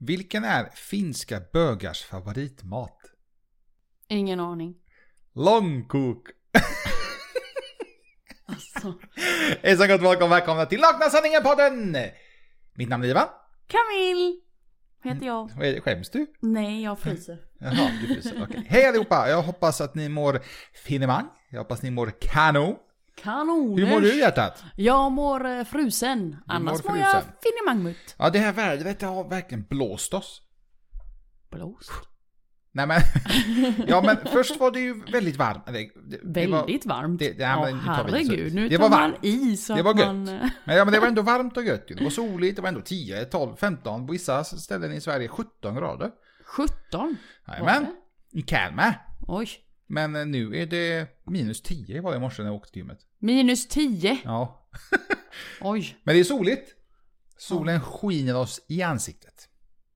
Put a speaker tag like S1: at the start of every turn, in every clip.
S1: Vilken är finska bögars favoritmat?
S2: Ingen aning.
S1: Långkok!
S2: Alltså.
S1: Hejsan gott folk och välkomna till Nakna Sanningen-podden! Mitt namn är Ivan.
S2: Camille! Heter jag.
S1: Vad är det, Skäms du?
S2: Nej, jag fryser.
S1: Jaha, du fryser. Okej. Hej allihopa! Jag hoppas att ni mår finemang. Jag hoppas ni mår kanon.
S2: Kanoners!
S1: Hur mår du hjärtat?
S2: Jag mår eh, frusen. Annars mår,
S1: mår
S2: jag
S1: frusen.
S2: finemangmutt.
S1: Ja, det här vädret har verkligen blåst oss.
S2: Blåst.
S1: Nej men, ja men först var det ju väldigt varmt. Eller, det- det var-
S2: Väldigt varmt.
S1: det- det- ja,
S2: Åh,
S1: men nu tar vi det så.
S2: herregud, nu
S1: Det
S2: tar
S1: var
S2: man
S1: varmt.
S2: i så
S1: Det
S2: att
S1: var gött.
S2: man... eh,
S1: Men, ja, men det var ändå varmt och gött ju. Det var soligt, det var ändå 10, 12, 15, på vissa ställen i Sverige 17 grader.
S2: 17? Var
S1: Jajamän, i Kalmar.
S2: Oj.
S1: Men eh, nu är det minus 10 var det i morse när jag åkte till gymmet.
S2: Minus 10.
S1: Ja.
S2: Oj,
S1: Men det är soligt. Solen skiner oss i ansiktet.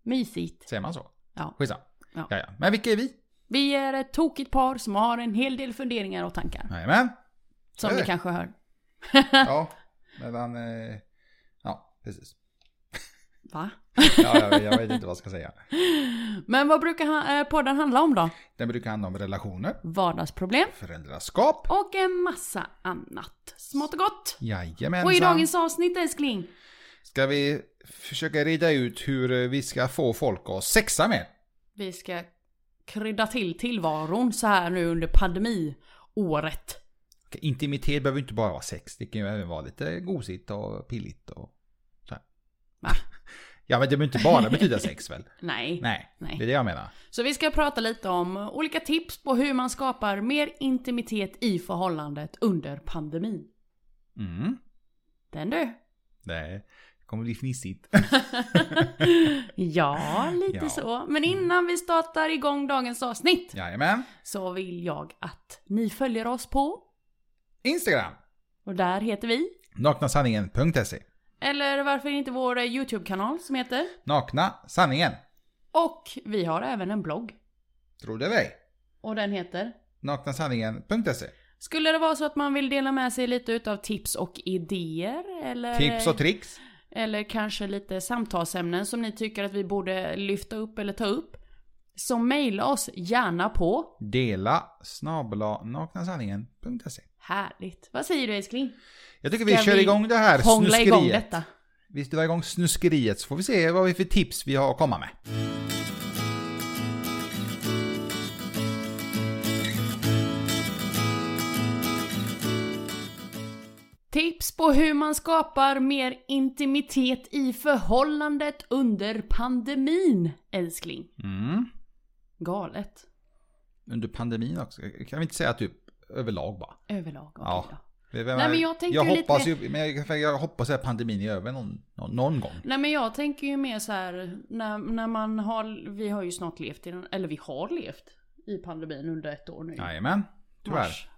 S2: mysigt.
S1: Säger man så?
S2: Ja.
S1: Skitsamma.
S2: Ja.
S1: Ja. Ja, Men vilka är vi?
S2: Vi är ett tokigt par som har en hel del funderingar och tankar.
S1: Jajamän.
S2: Som
S1: det är
S2: ni
S1: det.
S2: kanske hör.
S1: Ja. Medan... eh, Ja, precis.
S2: Va?
S1: Ja, jag, jag vet inte vad jag ska säga.
S2: Men vad brukar han, eh, podden handla om då?
S1: Den brukar handla om relationer,
S2: Vardagsproblem
S1: föräldraskap.
S2: och en massa annat. Smått och gott.
S1: Jajamensan.
S2: Och i dagens avsnitt älskling.
S1: Ska vi försöka reda ut hur eh, vi ska få folk att sexa med?
S2: Vi ska krydda till tillvaron så här nu under pandemiåret.
S1: Okej, Intimitet behöver ju inte bara vara sex, det kan ju även vara lite gosigt och pilligt och så här.
S2: Va?
S1: Ja men det behöver inte bara betyda sex väl?
S2: Nej.
S1: Nej,
S2: Nej.
S1: det är det jag menar.
S2: Så vi ska prata lite om olika tips på hur man skapar mer intimitet i förhållandet under pandemin.
S1: Mm.
S2: Den du.
S1: Nej, det kommer bli fnissigt.
S2: Ja, lite
S1: Ja.
S2: så. Men innan vi startar igång dagens avsnitt
S1: Jajamän.
S2: så vill jag att ni följer oss på,
S1: Instagram.
S2: och där heter vi,
S1: Naknasanningen.se
S2: eller varför inte vår eh, YouTube-kanal som heter.
S1: Nakna sanningen.
S2: Och vi har även en blogg.
S1: Tror det ej.
S2: Och den heter?
S1: Naknasanningen.se
S2: Skulle det vara så att man vill dela med sig lite utav tips och idéer? Eller,
S1: Tips och tricks.
S2: eller kanske lite samtalsämnen som ni tycker att vi borde lyfta upp eller ta upp? Så mejla oss gärna på.
S1: Dela snabla naknasanningen.se
S2: Härligt. Vad säger du älskling?
S1: Jag tycker vi
S2: Ska
S1: kör
S2: vi
S1: igång det här
S2: Hångla
S1: snuskeriet.
S2: igång detta.
S1: Vi drar igång snuskeriet så får vi se vad vi för tips vi har att komma med.
S2: Tips på hur man skapar mer intimitet i förhållandet under pandemin, älskling.
S1: Mm.
S2: Galet.
S1: Under pandemin också. Kan vi inte säga typ överlag bara?
S2: Överlag. okej
S1: Ja.
S2: då.
S1: Nej,
S2: men jag tänker
S1: jag
S2: ju lite
S1: hoppas ju, men jag, för jag hoppas att pandemin är över någon, någon, någon gång.
S2: Nej men jag tänker ju mer så här när, när man har, vi har ju snart levt i den, eller vi har levt i pandemin under ett år nu.
S1: Jajamän, tyvärr.
S2: Mars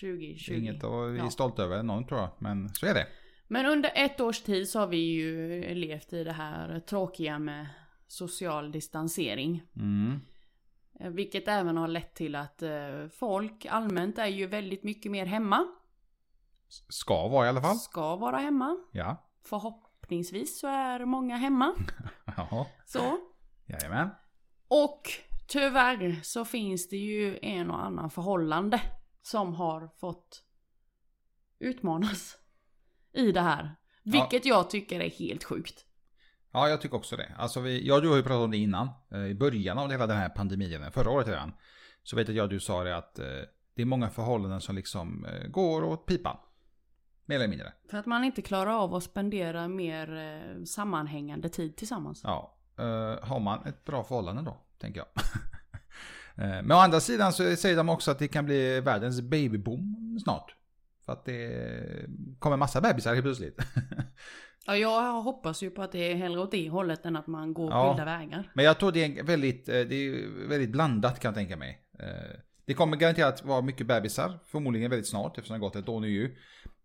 S2: 2020.
S1: Det är Inget att vara
S2: Ja.
S1: stolta över, någon tror jag. Men så är det.
S2: Men under ett års tid så har vi ju levt i det här tråkiga med social distansering.
S1: Mm.
S2: Eh, Vilket även har lett till att eh, folk allmänt är ju väldigt mycket mer hemma.
S1: S- Ska vara i alla fall.
S2: Ska vara hemma.
S1: Ja.
S2: Förhoppningsvis så är många hemma.
S1: Jaha.
S2: Så.
S1: Jajamän.
S2: Och tyvärr så finns det ju en och annan förhållande som har fått utmanas i det här. Vilket jag tycker är helt sjukt.
S1: Ja, jag tycker också det. Alltså vi, jag och du har ju pratat om det innan. Eh, I början av hela den här pandemin, förra året redan. Så vet jag att jag och du sa det att eh, det är många förhållanden som liksom eh, går åt pipan. Mer eller mindre.
S2: För att man inte klarar av att spendera mer eh, sammanhängande tid tillsammans.
S1: Ja. Eh, har man ett bra förhållande då, tänker jag. eh, men å andra sidan så säger de också att det kan bli världens babyboom snart. För att det kommer massa bebisar helt plötsligt.
S2: Ja, jag hoppas ju på att det är hellre åt det hållet än att man går
S1: Ja.
S2: skilda vägar.
S1: Men jag tror det är väldigt, eh, det är väldigt blandat kan jag tänka mig. Eh, Det kommer garanterat vara mycket bebisar, förmodligen väldigt snart eftersom det har gått ett år nu ju.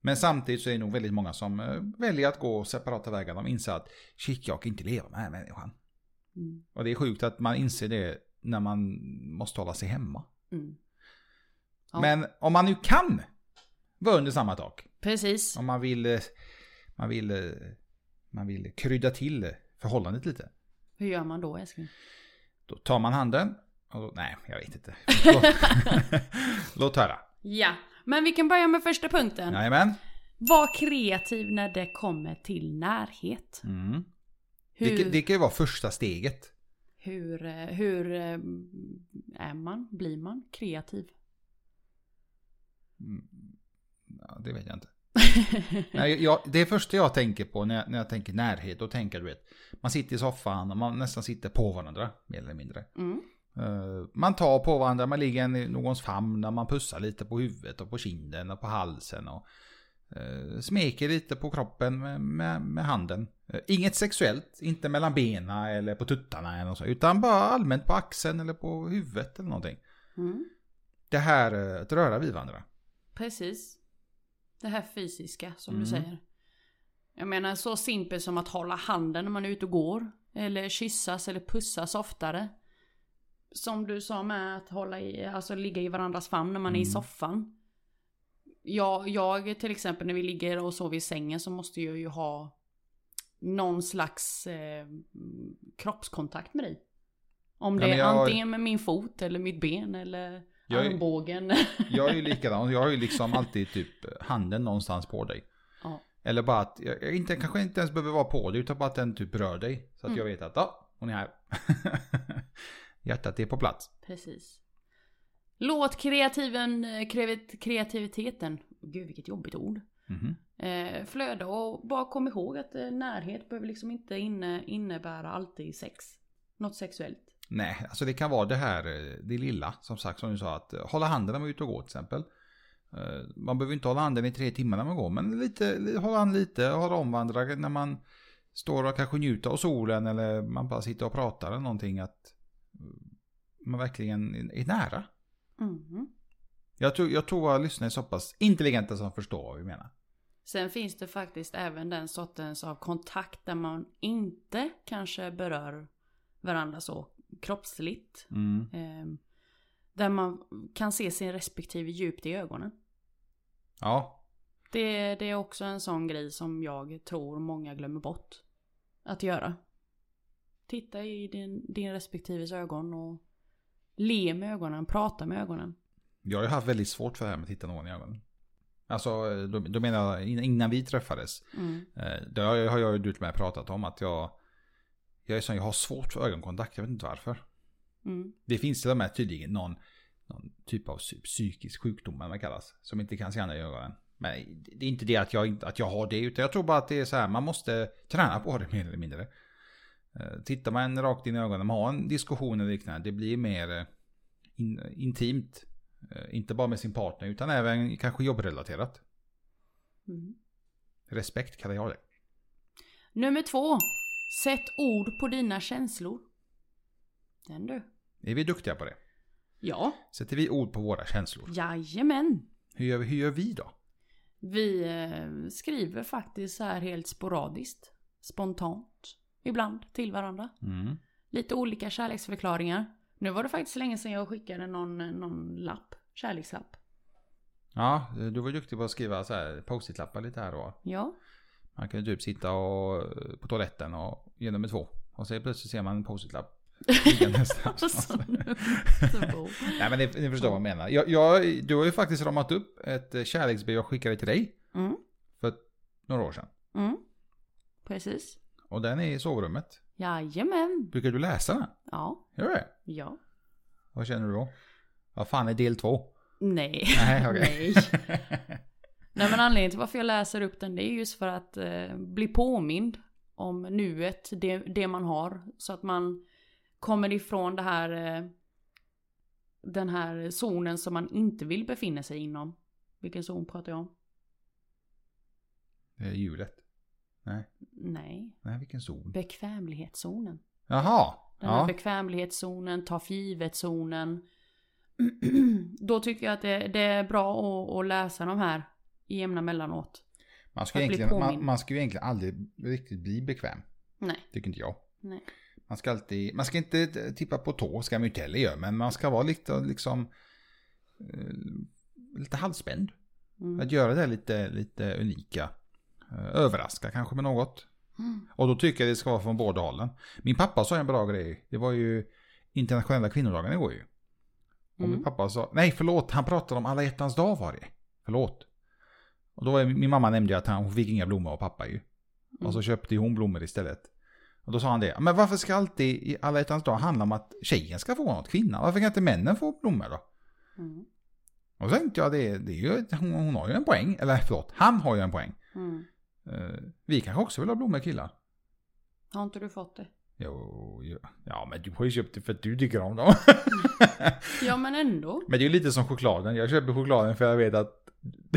S1: Men samtidigt så är det nog väldigt många som eh, väljer att gå separata vägar. De inser att shit, jag kan inte leva med den här människan.
S2: Mm.
S1: Och det är sjukt att man inser det när man måste hålla sig hemma.
S2: Mm. Ja.
S1: Men om man nu kan vara under samma tak.
S2: Precis.
S1: Om man vill, eh, man vill, eh, man vill krydda till förhållandet lite.
S2: Hur gör man då älskling?
S1: Då tar man handen. Och då, nej, jag vet inte. Låt, Låt höra.
S2: Ja, men vi kan börja med första punkten.
S1: Jajamän.
S2: Var kreativ när det kommer till närhet.
S1: Mm.
S2: Hur,
S1: Det, kan- det kan ju vara första steget.
S2: hur, eh, hur eh, är man, blir man kreativ?
S1: Mm. Ja, det vet jag inte. Nej, jag, det första jag tänker på när jag, när jag tänker närhet, då tänker jag, du vet, man sitter i soffan och man nästan sitter på varandra, mer eller mindre.
S2: Mm.
S1: Eh, Man tar på varandra, man ligger i någons famn och man pussar lite på huvudet och på kinden och på halsen och eh, smeker lite på kroppen med, med, med handen. Eh, Inget sexuellt, inte mellan benen eller på tuttarna eller något så, utan bara allmänt på axeln eller på huvudet eller någonting.
S2: Mm.
S1: Det här eh, att röra vid varandra.
S2: Precis. Det här fysiska som
S1: Mm.
S2: du säger. Jag menar så simpelt som att hålla handen när man är ute och går. Eller kyssas eller pussas oftare. Som du sa med att hålla i, alltså ligga i varandras famn när man är i
S1: Mm.
S2: soffan. Jag, jag till exempel när vi ligger och sover i sängen så måste jag ju ha någon slags eh, kroppskontakt med dig. Om
S1: Ja,
S2: det
S1: men
S2: är
S1: jag-
S2: antingen med min fot eller mitt ben eller
S1: Jag är-
S2: armbågen.
S1: Jag är ju likadan, jag har ju liksom alltid typ handen någonstans på dig.
S2: Ja.
S1: Eller bara att, jag jag inte, kanske inte ens behöver vara på dig utan bara att den typ rör dig. Så att
S2: Mm.
S1: jag vet att, ja, hon är här. Hjärtat är på plats.
S2: Precis. Låt kreativen, krevet- kreativiteten, gud vilket jobbigt ord,
S1: Mhm.
S2: eh, flöda och bara kom ihåg att eh, närhet behöver liksom inte inne, innebära alltid sex. Något sexuellt.
S1: Nej, alltså det kan vara det här, eh, det lilla, som sagt, som du sa, att eh, hålla handen när man är ute och går till exempel. Eh, Man behöver inte hålla handen i tre timmar när man går, men lite, li- hålla handen lite, hålla om varandra när man står och kanske njuter av solen eller man bara sitter och pratar eller någonting, att mm, man verkligen är nära.
S2: Mhm.
S1: Jag tror, jag tror våra lyssnare är så pass intelligenta som förstår vad vi menar.
S2: Sen finns det faktiskt även den sortens av kontakt där man inte kanske berör varandra så kroppsligt. Eh, där man kan se sin respektive djupt i ögonen.
S1: Ja,
S2: Det, det är också en sån grej som jag tror många glömmer bort att göra. Titta i din, din respektives ögon och le med ögonen, prata med ögonen.
S1: jag har ju haft väldigt svårt för det här med att titta någon i ögonen. Alltså, eh, då, då menar jag in- innan vi träffades.
S2: Mm.
S1: Eh, Det har jag- har jag ju du till mig pratat om att jag, jag är sån, jag har svårt för ögonkontakt, jag vet inte varför.
S2: Mm.
S1: Det finns till och med tydligen någon, någon typ av psy- psykisk sjukdom, eller vad det kallas, som inte kan se andra i ögonen. Men det är inte det att jag, inte- att jag har det, utan jag tror bara att det är så här, man måste träna på det mer eller mindre. Eh, Tittar man rakt in i ögonen, man har en diskussion eller liknande, det blir mer eh, in, intimt. Eh, Inte bara med sin partner, utan även kanske jobbrelaterat.
S2: Mm.
S1: Respekt kallar jag det.
S2: Nummer två. Sätt ord på dina känslor. Den du.
S1: Är vi duktiga på det?
S2: Ja,
S1: Sätter vi ord på våra känslor?
S2: jajamän.
S1: Hur gör vi, hur gör vi då?
S2: Vi eh, skriver faktiskt så här helt sporadiskt. Spontant. Ibland till varandra. lite olika kärleksförklaringar. Nu var det faktiskt länge sedan jag skickade någon, någon lapp, kärlekslapp.
S1: Ja, du var duktig på att skriva så här post-it-lappar lite här och
S2: Ja,
S1: Man kan ju typ sitta och, eh, på toaletten och ge nummer två. Och så plötsligt ser man en post-it-lapp. liggandes där någonstans.
S2: så nu. så.
S1: Nej men ni, ni förstår vad jag menar. Jag, jag, du har ju faktiskt ramat upp ett eh, kärleksbrev jag skickade till dig
S2: Mm,
S1: för några år sedan.
S2: mm. Precis.
S1: Och den är i sovrummet.
S2: Jajamän.
S1: Brukar du läsa den?
S2: Ja,
S1: Gör du det?
S2: ja.
S1: Vad känner du då? Vad fan är del två?
S2: Nej.
S1: Nej, okej.
S2: Nej men anledningen till varför jag läser upp den det är just för att eh, bli påmind om nuet, det, det man har. Så att man kommer ifrån det här, eh, den här zonen som man inte vill befinna sig inom. Vilken zon pratar jag om?
S1: Det är hjulet.
S2: Nej,
S1: Nej, vilken zon.
S2: bekvämlighetszonen.
S1: Jaha.
S2: Den här bekvämlighetszonen, ta för givet-zonen. Då tycker jag att det, det är bra att, att läsa de här i jämna mellanåt.
S1: Man ska,
S2: Att
S1: ju
S2: bli
S1: egentligen, man,
S2: påmind.
S1: man ska ju egentligen aldrig riktigt bli bekväm.
S2: Nej,
S1: Tycker inte jag.
S2: nej.
S1: Man ska alltid, man ska inte t- tippa på tå, ska man ju inte heller göra. Men man ska vara lite liksom eh, lite halvspänd.
S2: Mm.
S1: Att göra det här lite, lite unika. Eh, Överraska kanske med något.
S2: Mm.
S1: Och då tycker jag det ska vara från båda hållen. Min pappa sa en bra grej. Det var ju internationella kvinnodagen igår ju. Och min
S2: Mm.
S1: pappa sa, nej förlåt, han pratade om alla hjärtans dag var det. Förlåt. Och då var jag, min mamma nämnde ju att han, hon fick inga blommor av pappa ju. Och så köpte ju hon blommor istället. Och då sa han det, men varför ska alltid i alla hjärtans dag handla om att tjejen ska få något, kvinnan? Varför kan inte männen få blommor då?
S2: Mm.
S1: Och så tänkte jag, det, det är ju, hon, hon har ju en poäng. Eller förlåt, han har ju en poäng.
S2: Mm.
S1: Eh, vi kanske också vill ha blommor killar.
S2: Har inte du fått det?
S1: Jo, jo, ja men du har ju köpt det för att du tycker om dem.
S2: Ja men ändå.
S1: men det är ju lite som chokladen. Jag köper chokladen för jag vet att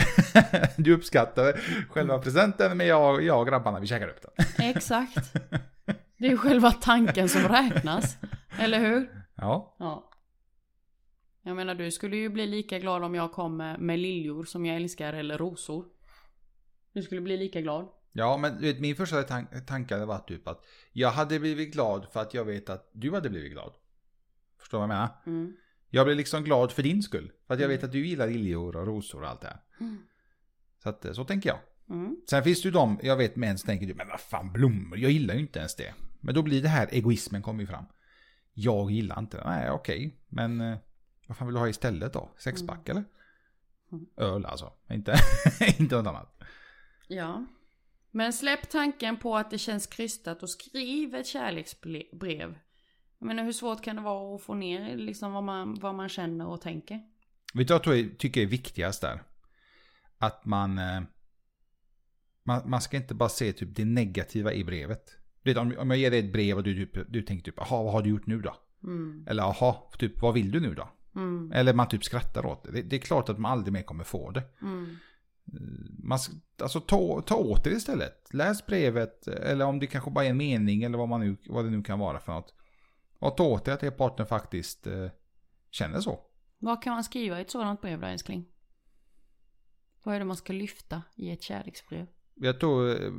S1: du uppskattar själva presenten men jag, jag och grabbarna vi käkar upp den.
S2: Exakt. Det är själva tanken som räknas. Eller hur?
S1: Ja,
S2: Ja. Jag menar du skulle ju bli lika glad om jag kom med, med liljor som jag älskar eller rosor. Du skulle bli lika glad.
S1: ja men du vet, min första tan- tanke hade varit typ att jag hade blivit glad för att jag vet att du hade blivit glad. Förstår du vad jag menar?
S2: Mm.
S1: Jag blir liksom glad för din skull. För att jag vet att du gillar liljor och rosor och allt det här.
S2: Mm.
S1: Så att, eh, så tänker jag.
S2: Mm.
S1: Sen finns det ju de, jag vet män som tänker ju, men vad fan blommor, jag gillar ju inte ens det. Men då blir det här egoismen kommer ju fram. Jag gillar inte det, nej okej, men eh, vad fan vill du ha istället då? Sexpack eller?
S2: Mm.
S1: Öl alltså, inte, inte något annat.
S2: Ja. Men släpp tanken på att det känns krystat och skriv ett kärleksbrev. Jag menar hur svårt kan det vara att få ner liksom vad man, vad man känner och tänker?
S1: Vet du vad jag tror jag tycker är viktigast där? Att man, eh, man, man ska inte bara se typ det negativa i brevet. Du vet, om, om jag ger dig ett brev och du, typ, du tänker typ, jaha vad har du gjort nu då?
S2: Mm.
S1: Eller jaha, typ vad vill du nu då?
S2: Mm.
S1: Eller man typ skrattar åt det. det. Det är klart att man aldrig mer kommer få det. Eh,
S2: Mm.
S1: Man, ska- alltså ta, ta åt det istället. Läs brevet, eller om det kanske bara är en mening eller vad, man nu, vad det nu kan vara för något. Och ta åt det att er partner faktiskt eh, känner så.
S2: Vad kan man skriva i ett sådant brev då älskling? Vad är det man ska lyfta i ett kärleksbrev?
S1: Jag tror, eh,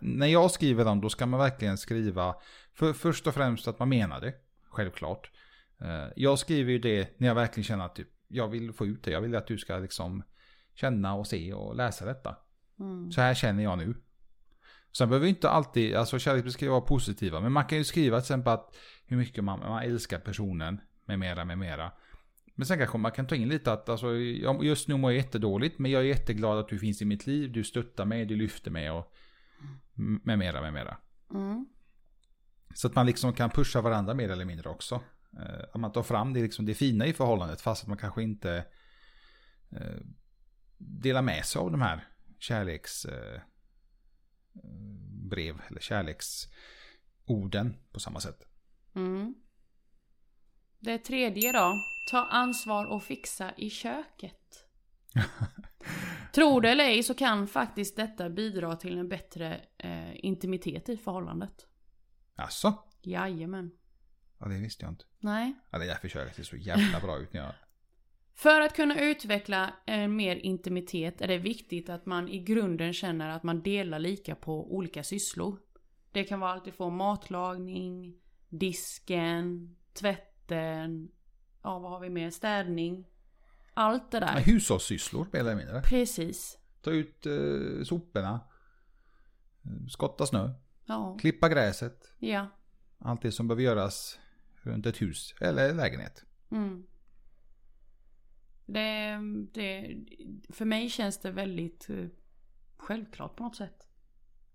S1: när jag skriver dem då ska man verkligen skriva, för, först och främst att man menar det, självklart. Eh, Jag skriver ju det när jag verkligen känner att typ, jag vill få ut det, jag vill att du ska liksom känna och se och läsa detta.
S2: Mm.
S1: Så här känner jag nu. Sen behöver vi inte alltid, alltså kärleksbrev ska ju vara positiva. Men man kan ju skriva till exempel att hur mycket man, man älskar personen. Med mera, med mera. Men sen kanske man kan ta in lite att alltså, jag- just nu mår jag jättedåligt. Men jag är jätteglad att du finns i mitt liv. Du stöttar mig, du lyfter mig och med mera, med mera.
S2: Mm.
S1: Så att man liksom kan pusha varandra mer eller mindre också. Eh, Att man tar fram det, liksom det fina i förhållandet fast att man kanske inte eh, delar med sig av de här kärleksbrev eller kärleksorden på samma sätt.
S2: Mm. Det tredje då. Ta ansvar och fixa i köket. Tror det eller ej så kan faktiskt detta bidra till en bättre eh, intimitet i förhållandet.
S1: Alltså,
S2: Jajamän.
S1: ja, det visste jag inte.
S2: Nej.
S1: Ja, det är därför köket ser så jävla bra ut när jag...
S2: För att kunna utveckla en mer intimitet är det viktigt att man i grunden känner att man delar lika på olika sysslor. Det kan vara allt ifrån matlagning, disken, tvätten, ja vad har vi mer, städning. Allt det
S1: Men
S2: där.
S1: Hushållssysslor mer eller mindre.
S2: Precis.
S1: Ta ut eh, soporna. eh, Skotta snö.
S2: Ja.
S1: Klippa gräset.
S2: Ja.
S1: Allt det som behöver göras runt ett hus eller lägenhet.
S2: Mm. Det, det, för mig känns det väldigt eh, självklart på något sätt.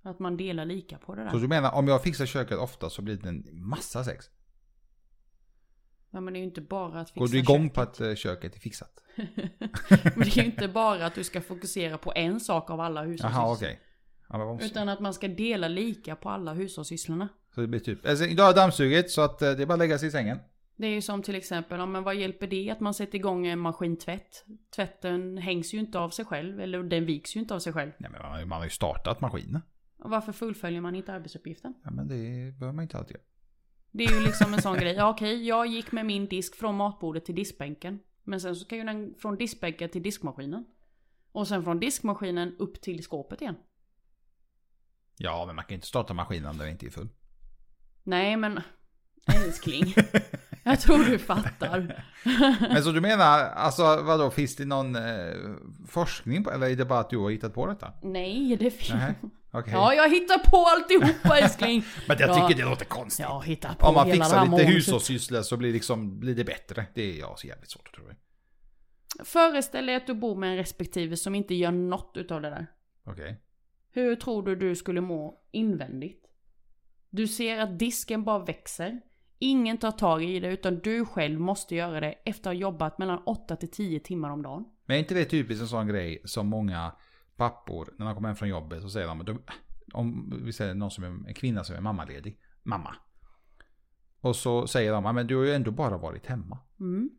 S2: Att man delar lika på det där.
S1: Så du menar om jag fixar köket ofta så blir det en massa sex?
S2: Ja, men det är ju inte bara att fixa
S1: Går du igång
S2: köket.
S1: på att eh, köket är fixat?
S2: Men det är ju inte bara att du ska fokusera på en sak av alla
S1: Jaha,
S2: hushållssysslor.
S1: okej. Ja, men vad måste-
S2: Utan att man ska dela lika på alla hushållssysslorna.
S1: Så det blir typ... Alltså, idag har jag dammsugit så att eh, det är bara att lägga sig i sängen.
S2: Det är ju som till exempel, ja, men vad hjälper det att man sätter igång en maskintvätt? Tvätten hängs ju inte av sig själv, eller den viks ju inte av sig själv.
S1: Nej men man har ju- man har ju startat maskinen.
S2: Och Varför fullföljer man inte arbetsuppgiften?
S1: Ja men det behöver man inte alltid göra.
S2: Det är ju liksom en sån grej. Ja, okej, jag gick med min disk från matbordet till diskbänken. Men sen så kan ju den från diskbänken till diskmaskinen. Och sen från diskmaskinen upp till skåpet igen.
S1: Ja men man kan inte starta maskinen om den inte är full.
S2: Nej men älskling. Jag tror du fattar.
S1: Men så du menar, alltså vadå, finns det någon eh, forskning på, eller är det bara att du har hittat på detta?
S2: Nej, det finns...
S1: Nej. Okej.
S2: Ja, jag hittar på alltihopa älskling.
S1: Men jag
S2: Ja.
S1: tycker det låter konstigt.
S2: Jag hittar på
S1: Om man
S2: hela det
S1: fixar
S2: här
S1: lite
S2: målet.
S1: hushållssysslor så blir, liksom, blir det bättre. Det är jag så jävligt svårt att tro. det.
S2: Föreställ dig att du bor med en respektive som inte gör något utav det där.
S1: Okej.
S2: Hur tror du du skulle må invändigt? Du ser att disken bara växer. Ingen tar tag i det utan du själv måste göra det efter att ha jobbat mellan 8 till 10 timmar om dagen.
S1: Men är inte det typiskt en sån grej som många pappor, när de kommer hem från jobbet så säger de, att de om vi säger någon som är en kvinna som är mammaledig, mamma. Och så säger de, "Ja, men du har ju ändå bara varit hemma.
S2: Mm.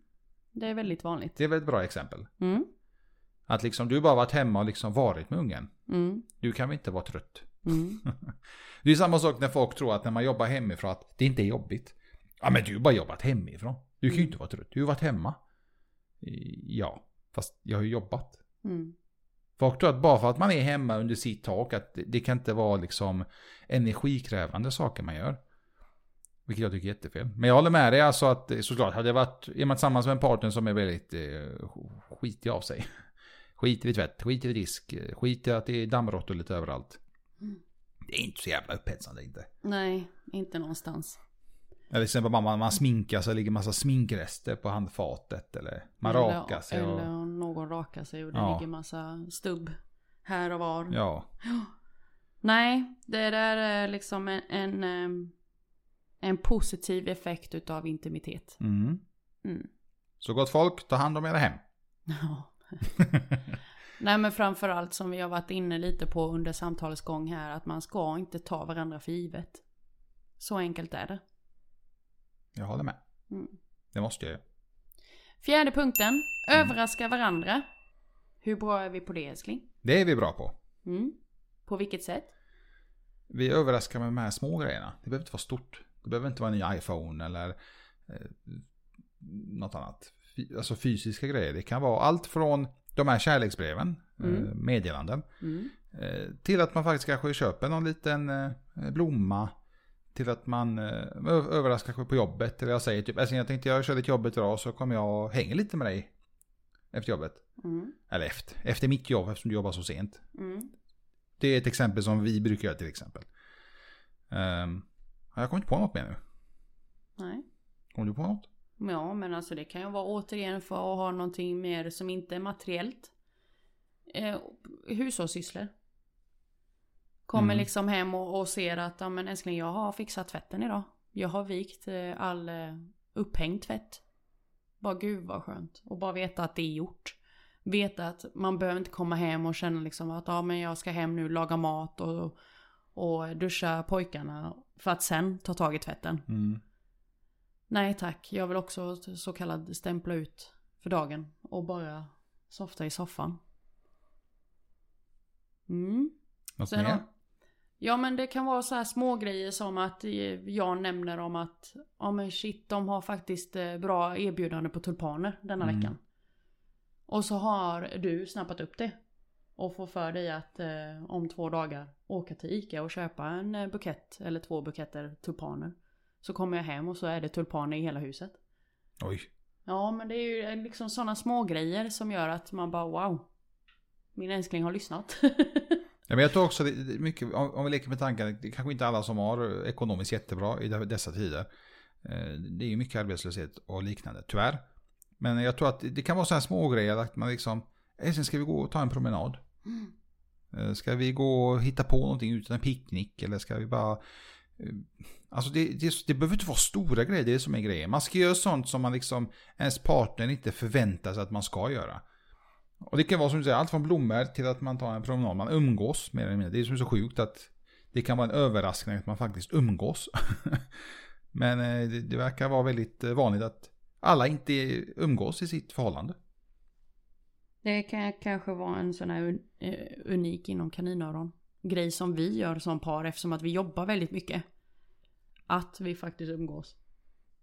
S2: Det är väldigt vanligt.
S1: Det är väl ett bra exempel.
S2: Mm.
S1: Att liksom, du har bara varit hemma och liksom varit med ungen.
S2: Mm.
S1: Du kan väl inte vara trött?
S2: Mm.
S1: Det är samma sak när folk tror att när man jobbar hemifrån att det inte är jobbigt. Ja men du har bara jobbat hemifrån. Du kan ju inte vara trött. Du har varit hemma. Ja, fast jag har ju jobbat.
S2: Mm.
S1: Folk tror att bara för att man är hemma under sitt tak att det- det kan inte vara liksom energikrävande saker man gör. Vilket jag tycker är jättefel. Men jag håller med dig alltså att eh, såklart, hade jag varit, är man tillsammans med en partner som är väldigt eh, skitig av sig. Skiter i tvätt, skiter i disk, eh, skiter i att det är dammråttor lite överallt.
S2: Mm.
S1: Det är inte så jävla upphetsande inte.
S2: Nej, inte någonstans.
S1: Eller till exempel man, man sminkar sig, ligger massa sminkrester på handfatet. Eller man
S2: eller,
S1: rakar sig. Och,
S2: Eller om någon rakar sig och det
S1: Ja.
S2: ligger massa stubb här och var.
S1: ja.
S2: Nej, det där är liksom en, en, ehm, en positiv effekt utav intimitet.
S1: Mm.
S2: Mm.
S1: Så gott folk, ta hand om era hem.
S2: Ja. Nej men framförallt som vi har varit inne lite på under samtalets gång här att man ska inte ta varandra för givet. Så enkelt är det.
S1: Jag håller med.
S2: Mm.
S1: Det måste jag ju.
S2: Fjärde
S1: Mm.
S2: punkten, överraska varandra. Hur bra är vi på det älskling?
S1: Det är vi bra på.
S2: Mm. På vilket sätt?
S1: Vi överraskar med de här små grejerna. Det behöver inte vara stort. Det behöver inte vara en ny iPhone eller eh, något annat. Fy- Alltså fysiska grejer. Det kan vara allt från de här kärleksbreven,
S2: Mm.
S1: eh, meddelanden.
S2: Mm.
S1: Eh, Till att man faktiskt kanske köper någon liten eh, blomma. Till att man eh, ö- överraskar kanske på jobbet. Eller jag säger typ, alltså jag tänkte jag kör lite jobbet idag så kommer jag och hänger lite med dig. Efter jobbet.
S2: Mm.
S1: Eller efter, efter mitt jobb eftersom du jobbar så sent.
S2: Mm.
S1: Det är ett exempel som vi brukar göra till exempel. Ehm, ja, jag kommer inte på något mer nu.
S2: Nej.
S1: Kommer du på något?
S2: Ja, men alltså det kan ju vara återigen för att ha någonting mer som inte är materiellt. Eh, hushållssysslor. Kommer
S1: Mm.
S2: liksom hem och, och ser att ja, men älskling jag har fixat tvätten idag. Jag har vikt eh, all eh, upphängd tvätt. Bara gud vad skönt. Och bara veta att det är gjort. Veta att man behöver inte komma hem och känna liksom att ja, men jag ska hem nu, laga mat och, och duscha pojkarna. För att sen ta tag i tvätten.
S1: Mm.
S2: Nej tack, jag vill också så kallad stämpla ut för dagen och bara softa i soffan. Mm.
S1: Något
S2: Sen
S1: mer?
S2: om- Ja men det kan vara så här små grejer som att eh, jag nämner om att ja men shit de har faktiskt eh, bra erbjudande på tulpaner denna
S1: Mm.
S2: veckan. Och så har du snappat upp det. Och får för dig att eh, om två dagar åka till Ica och köpa en eh, bukett eller två buketter tulpaner. Så kommer jag hem och så är det tulpaner i hela huset.
S1: Oj.
S2: Ja men det är ju eh, liksom sådana små grejer som gör att man bara wow. Min älskling har lyssnat.
S1: Ja, men jag tror också det, det, mycket, om, om vi leker med tanken, det är kanske inte alla som har eh, ekonomiskt jättebra i de- dessa tider. Eh, Det är ju mycket arbetslöshet och liknande, tyvärr. Men jag tror att det- det kan vara sådana små grejer att man liksom, "Eh, sen ska vi gå och ta en promenad.
S2: Mm.
S1: Eh, Ska vi gå och hitta på någonting utan en picknick eller ska vi bara... eh, Alltså det, det, det behöver inte vara stora grejer, det är som är grejen. Man ska göra sånt som man liksom, ens partner inte förväntar sig att man ska göra. Och det kan vara som du säger, allt från blommor till att man tar en promenad. Man umgås mer eller mindre. Det är som så sjukt att det kan vara en överraskning att man faktiskt umgås. Men eh, det, det verkar vara väldigt eh, vanligt att alla inte umgås i sitt förhållande.
S2: Det kan kanske vara en sån här un, eh, unik inom kaninöron grej som vi gör som par eftersom att vi jobbar väldigt mycket. Att vi faktiskt umgås.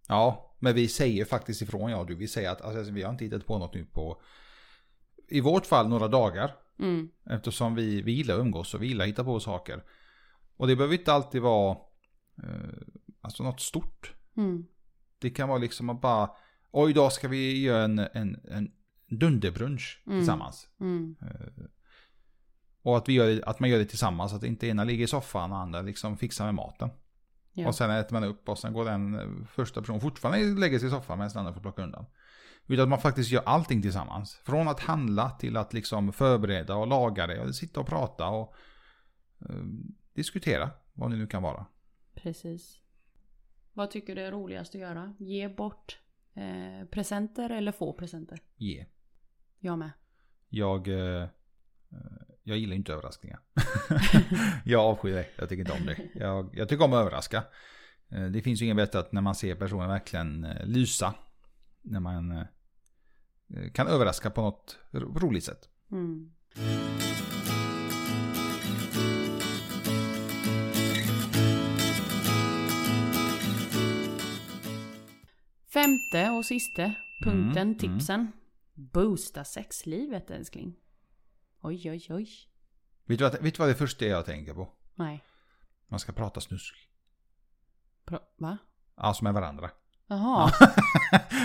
S1: Ja, men vi säger faktiskt ifrån ja du. Vi säger att alltså, vi har inte hittat på något nu på i vårt fall några dagar.
S2: Mm.
S1: Eftersom vi, vi gillar att umgås och vi gillar att hitta på saker. Och det behöver inte alltid vara eh, alltså något stort.
S2: Mm.
S1: Det kan vara liksom att bara, oj idag ska vi göra en, en, en dunderbrunch
S2: Mm.
S1: tillsammans.
S2: Mm.
S1: Och att, vi gör, det- att man gör det tillsammans, att inte ena ligger i soffan och andra liksom fixar med maten.
S2: Ja.
S1: Och sen äter man upp och sen går den eh, första personen fortfarande lägger sig i soffan medan den andra får plocka undan. Utan att man faktiskt gör allting tillsammans. Från att handla till att liksom förbereda och laga det och sitta och prata och eh, diskutera vad det nu kan vara.
S2: Precis. Vad tycker du är roligast att göra? Ge bort eh, presenter eller få presenter?
S1: Yeah.
S2: Jag med.
S1: Jag, eh, eh, jag gillar ju inte överraskningar. jag avskyr det. Jag tycker inte om det. Jag, jag tycker om att överraska. Eh, Det finns ju inget bättre att när man ser personen verkligen eh, lysa. När man eh, kan överraska på något ro- roligt sätt.
S2: Mm. Femte och sista punkten,
S1: Mm,
S2: tipsen. Boosta sexlivet älskling. Oj, oj, oj.
S1: Vet du, vad, vet du vad det första är jag tänker på?
S2: Nej.
S1: Man ska prata snusk.
S2: Pra- Va?
S1: Alltså med varandra.
S2: Jaha.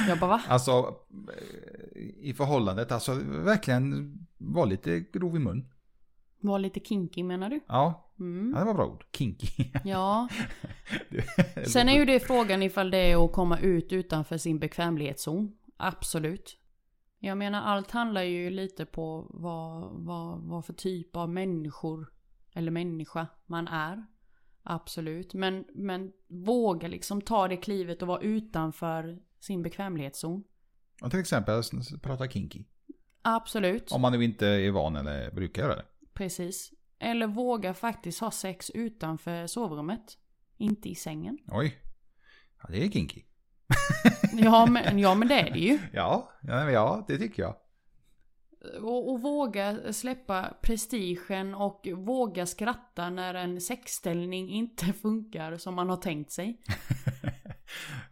S2: Jag bara va?
S1: Alltså eh, i förhållandet, alltså verkligen vara lite grov i mun.
S2: Var lite kinky menar du?
S1: Ja,
S2: Mm.
S1: ja det var bra ord. Kinky.
S2: Ja. Sen är ju det frågan ifall det är att komma ut utanför sin bekvämlighetszon. Absolut. Jag menar allt handlar ju lite på vad, vad, vad för typ av människor eller människa man är. Absolut. Men, men våga liksom ta det klivet och vara utanför sin bekvämlighetszon.
S1: Ja, till exempel prata kinky.
S2: Absolut.
S1: Om man nu inte är van eller brukar göra det.
S2: Precis. Eller våga faktiskt ha sex utanför sovrummet. Inte i sängen.
S1: Oj. Ja, det är kinky.
S2: Ja men, ja, men det är det ju.
S1: Ja, ja, men ja det tycker jag.
S2: Och, och våga släppa prestigen och våga skratta när en sexställning inte funkar som man har tänkt sig.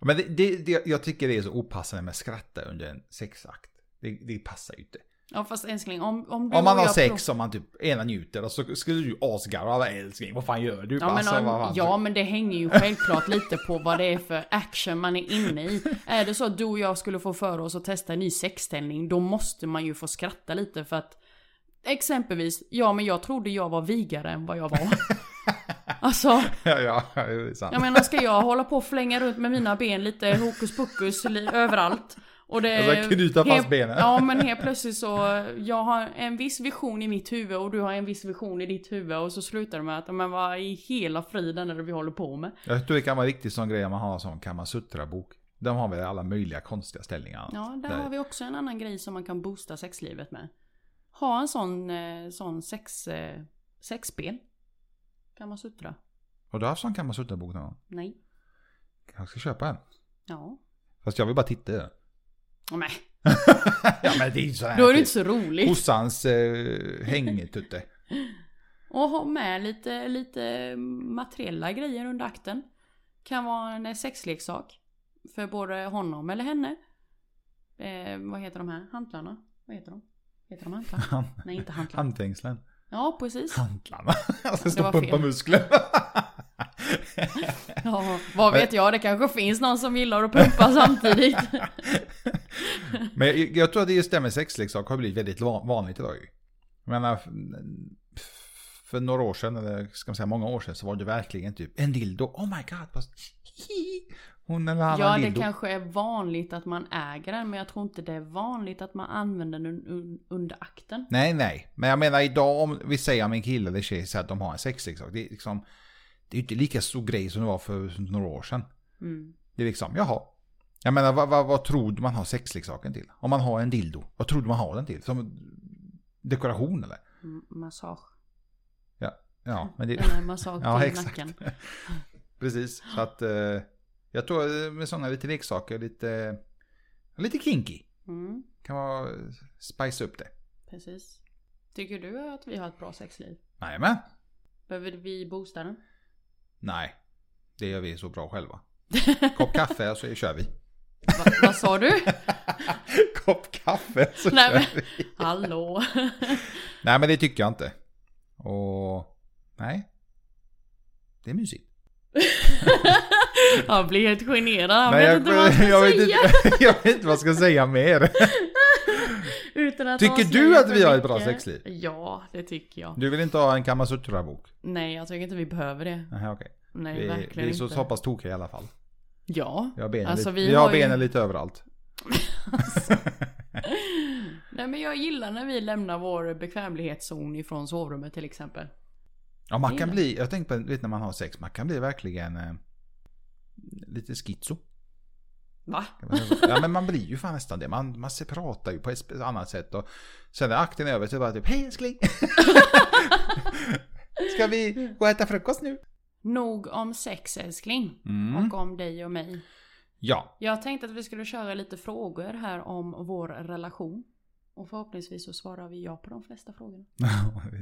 S1: Men det, det, det, jag tycker det är så opassande med skratta under en sexakt. Det, det passar ju inte.
S2: Ja fast älskling, om, om du
S1: Om man
S2: och
S1: har
S2: jag
S1: sex och man typ ena njuter och så skulle du asgarva. "Vad Älskling, vad fan gör du?
S2: Ja men,
S1: Alltså,
S2: om-
S1: vad fan-
S2: ja men det hänger ju självklart lite på vad det är för action man är inne i. Är det så att du och jag skulle få för oss att testa en ny sexställning, då måste man ju få skratta lite för att Exempelvis, ja men jag trodde jag var vigare än vad jag var. Alltså,
S1: ja, ja, det är sant.
S2: Jag menar ska jag hålla på och flänga runt med mina ben lite hokus pokus li- överallt? Och det...
S1: Alltså, knyta fast
S2: helt-
S1: benen.
S2: Ja men helt plötsligt så, jag har en viss vision i mitt huvud och du har en viss vision i ditt huvud och så slutar det med att, men vad i hela friden är det vi håller på med?
S1: Jag tror det kan vara riktigt sån grej om man har sån Kamasutra-bok. De har väl alla möjliga konstiga ställningar.
S2: Ja, där
S1: Där.
S2: har vi också en annan grej som man kan boosta sexlivet med. Ha en sån, eh, sån sex, eh, sexspel. Kan man suttra?
S1: Har du haft sån Kamasutra-bok någon gång?
S2: Nej.
S1: Jag ska köpa en.
S2: Ja.
S1: Fast jag vill bara titta i den.
S2: Oh, nej.
S1: Ja men det är ju så här.
S2: Då är det inte så roligt.
S1: Kossans eh, hängtutte.
S2: Och ha med lite, lite materiella grejer under akten. Kan vara en eh, sexleksak. För både honom eller henne. Eh, vad heter de här? Hantlarna? Vad heter de? Heter de hantlar?
S1: Han,
S2: Nej, inte hantlar.
S1: handfängslen.
S2: Ja, precis.
S1: Hantlarna. Alltså
S2: var
S1: stå pumpa
S2: fel.
S1: muskler.
S2: Ja, vad vet jag? Det kanske finns någon som gillar att pumpa samtidigt.
S1: men jag, jag tror att det just det med sexleksak har blivit väldigt van- vanligt idag ju. Jag menar, f- för några år sedan, eller ska man säga många år sedan, så var det verkligen typ en dildo. Oh my god. Vad... Hon eller han har
S2: Ja,
S1: en
S2: det
S1: dildo.
S2: kanske är vanligt att man äger den, men jag tror inte det är vanligt att man använder den un- under akten.
S1: Nej, nej. Men jag menar idag om vi säger om en kille eller tjej så att de har en sexleksak. Det är liksom, det är ju inte lika stor grej som det var för några år sedan.
S2: Mm.
S1: Det är liksom, jaha. Jag menar, vad, vad, vad tror du man har sexleksaken till? Om man har en dildo, vad tror du man har den till? Som dekoration eller?
S2: M- Massage.
S1: Ja, men det...
S2: Den här massage
S1: Ja,
S2: till
S1: exakt.
S2: nacken.
S1: Precis, så att... Eh, jag tror eh, med sådana lite leksaker, lite... Lite kinky.
S2: Mm.
S1: Kan vara... eh, Spice upp det.
S2: Precis. Tycker du att vi har ett bra sexliv?
S1: Nej men.
S2: Behöver vi boosta den?
S1: Nej. Det gör vi så bra själva. Kopp kaffe och så kör vi.
S2: Va, vad sa du?
S1: Kopp kaffe så
S2: Nej,
S1: kör
S2: men-
S1: vi.
S2: Hallå?
S1: Nej men det tycker jag inte. Och... Nej. Det är mysigt.
S2: Jag blir helt generad. Jag
S1: Nej,
S2: vet inte vad jag ska
S1: jag, vet
S2: säga.
S1: inte, jag vet inte vad jag ska säga mer.
S2: Utan efter att
S1: Tycker
S2: ha
S1: du
S2: slöjat
S1: att
S2: för
S1: vi har ett
S2: mycket-
S1: bra sexliv?
S2: Ja, det tycker jag.
S1: Du vill inte ha en Kamasutra-bok?
S2: Nej, jag tycker inte vi behöver det.
S1: Nähä, okej.
S2: Nej,
S1: Vi,
S2: verkligen
S1: vi är så,
S2: inte.
S1: så pass tokiga i alla fall.
S2: Ja.
S1: Vi har benen,
S2: Alltså,
S1: lite,
S2: vi
S1: vi har
S2: har ju-
S1: benen lite överallt.
S2: Nej men jag gillar när vi lämnar vår bekvämlighetszon ifrån sovrummet till exempel.
S1: Ja, man kan
S2: Gillar.
S1: bli, jag tänkte på, du vet när man har sex, man kan bli verkligen eh, lite schizo.
S2: Va?
S1: Kan man säga så? Ja men man blir ju fan nästan det. Man, man ser- pratar ju på ett spe- annat sätt och sen när akten är över så är det bara typ Hej älskling! Ska vi gå och äta frukost nu?
S2: Nog om sex älskling.
S1: Mm.
S2: Och om dig och mig.
S1: Ja,
S2: Jag tänkte att vi skulle köra lite frågor här om vår relation. Och förhoppningsvis så svarar vi ja på de flesta frågorna.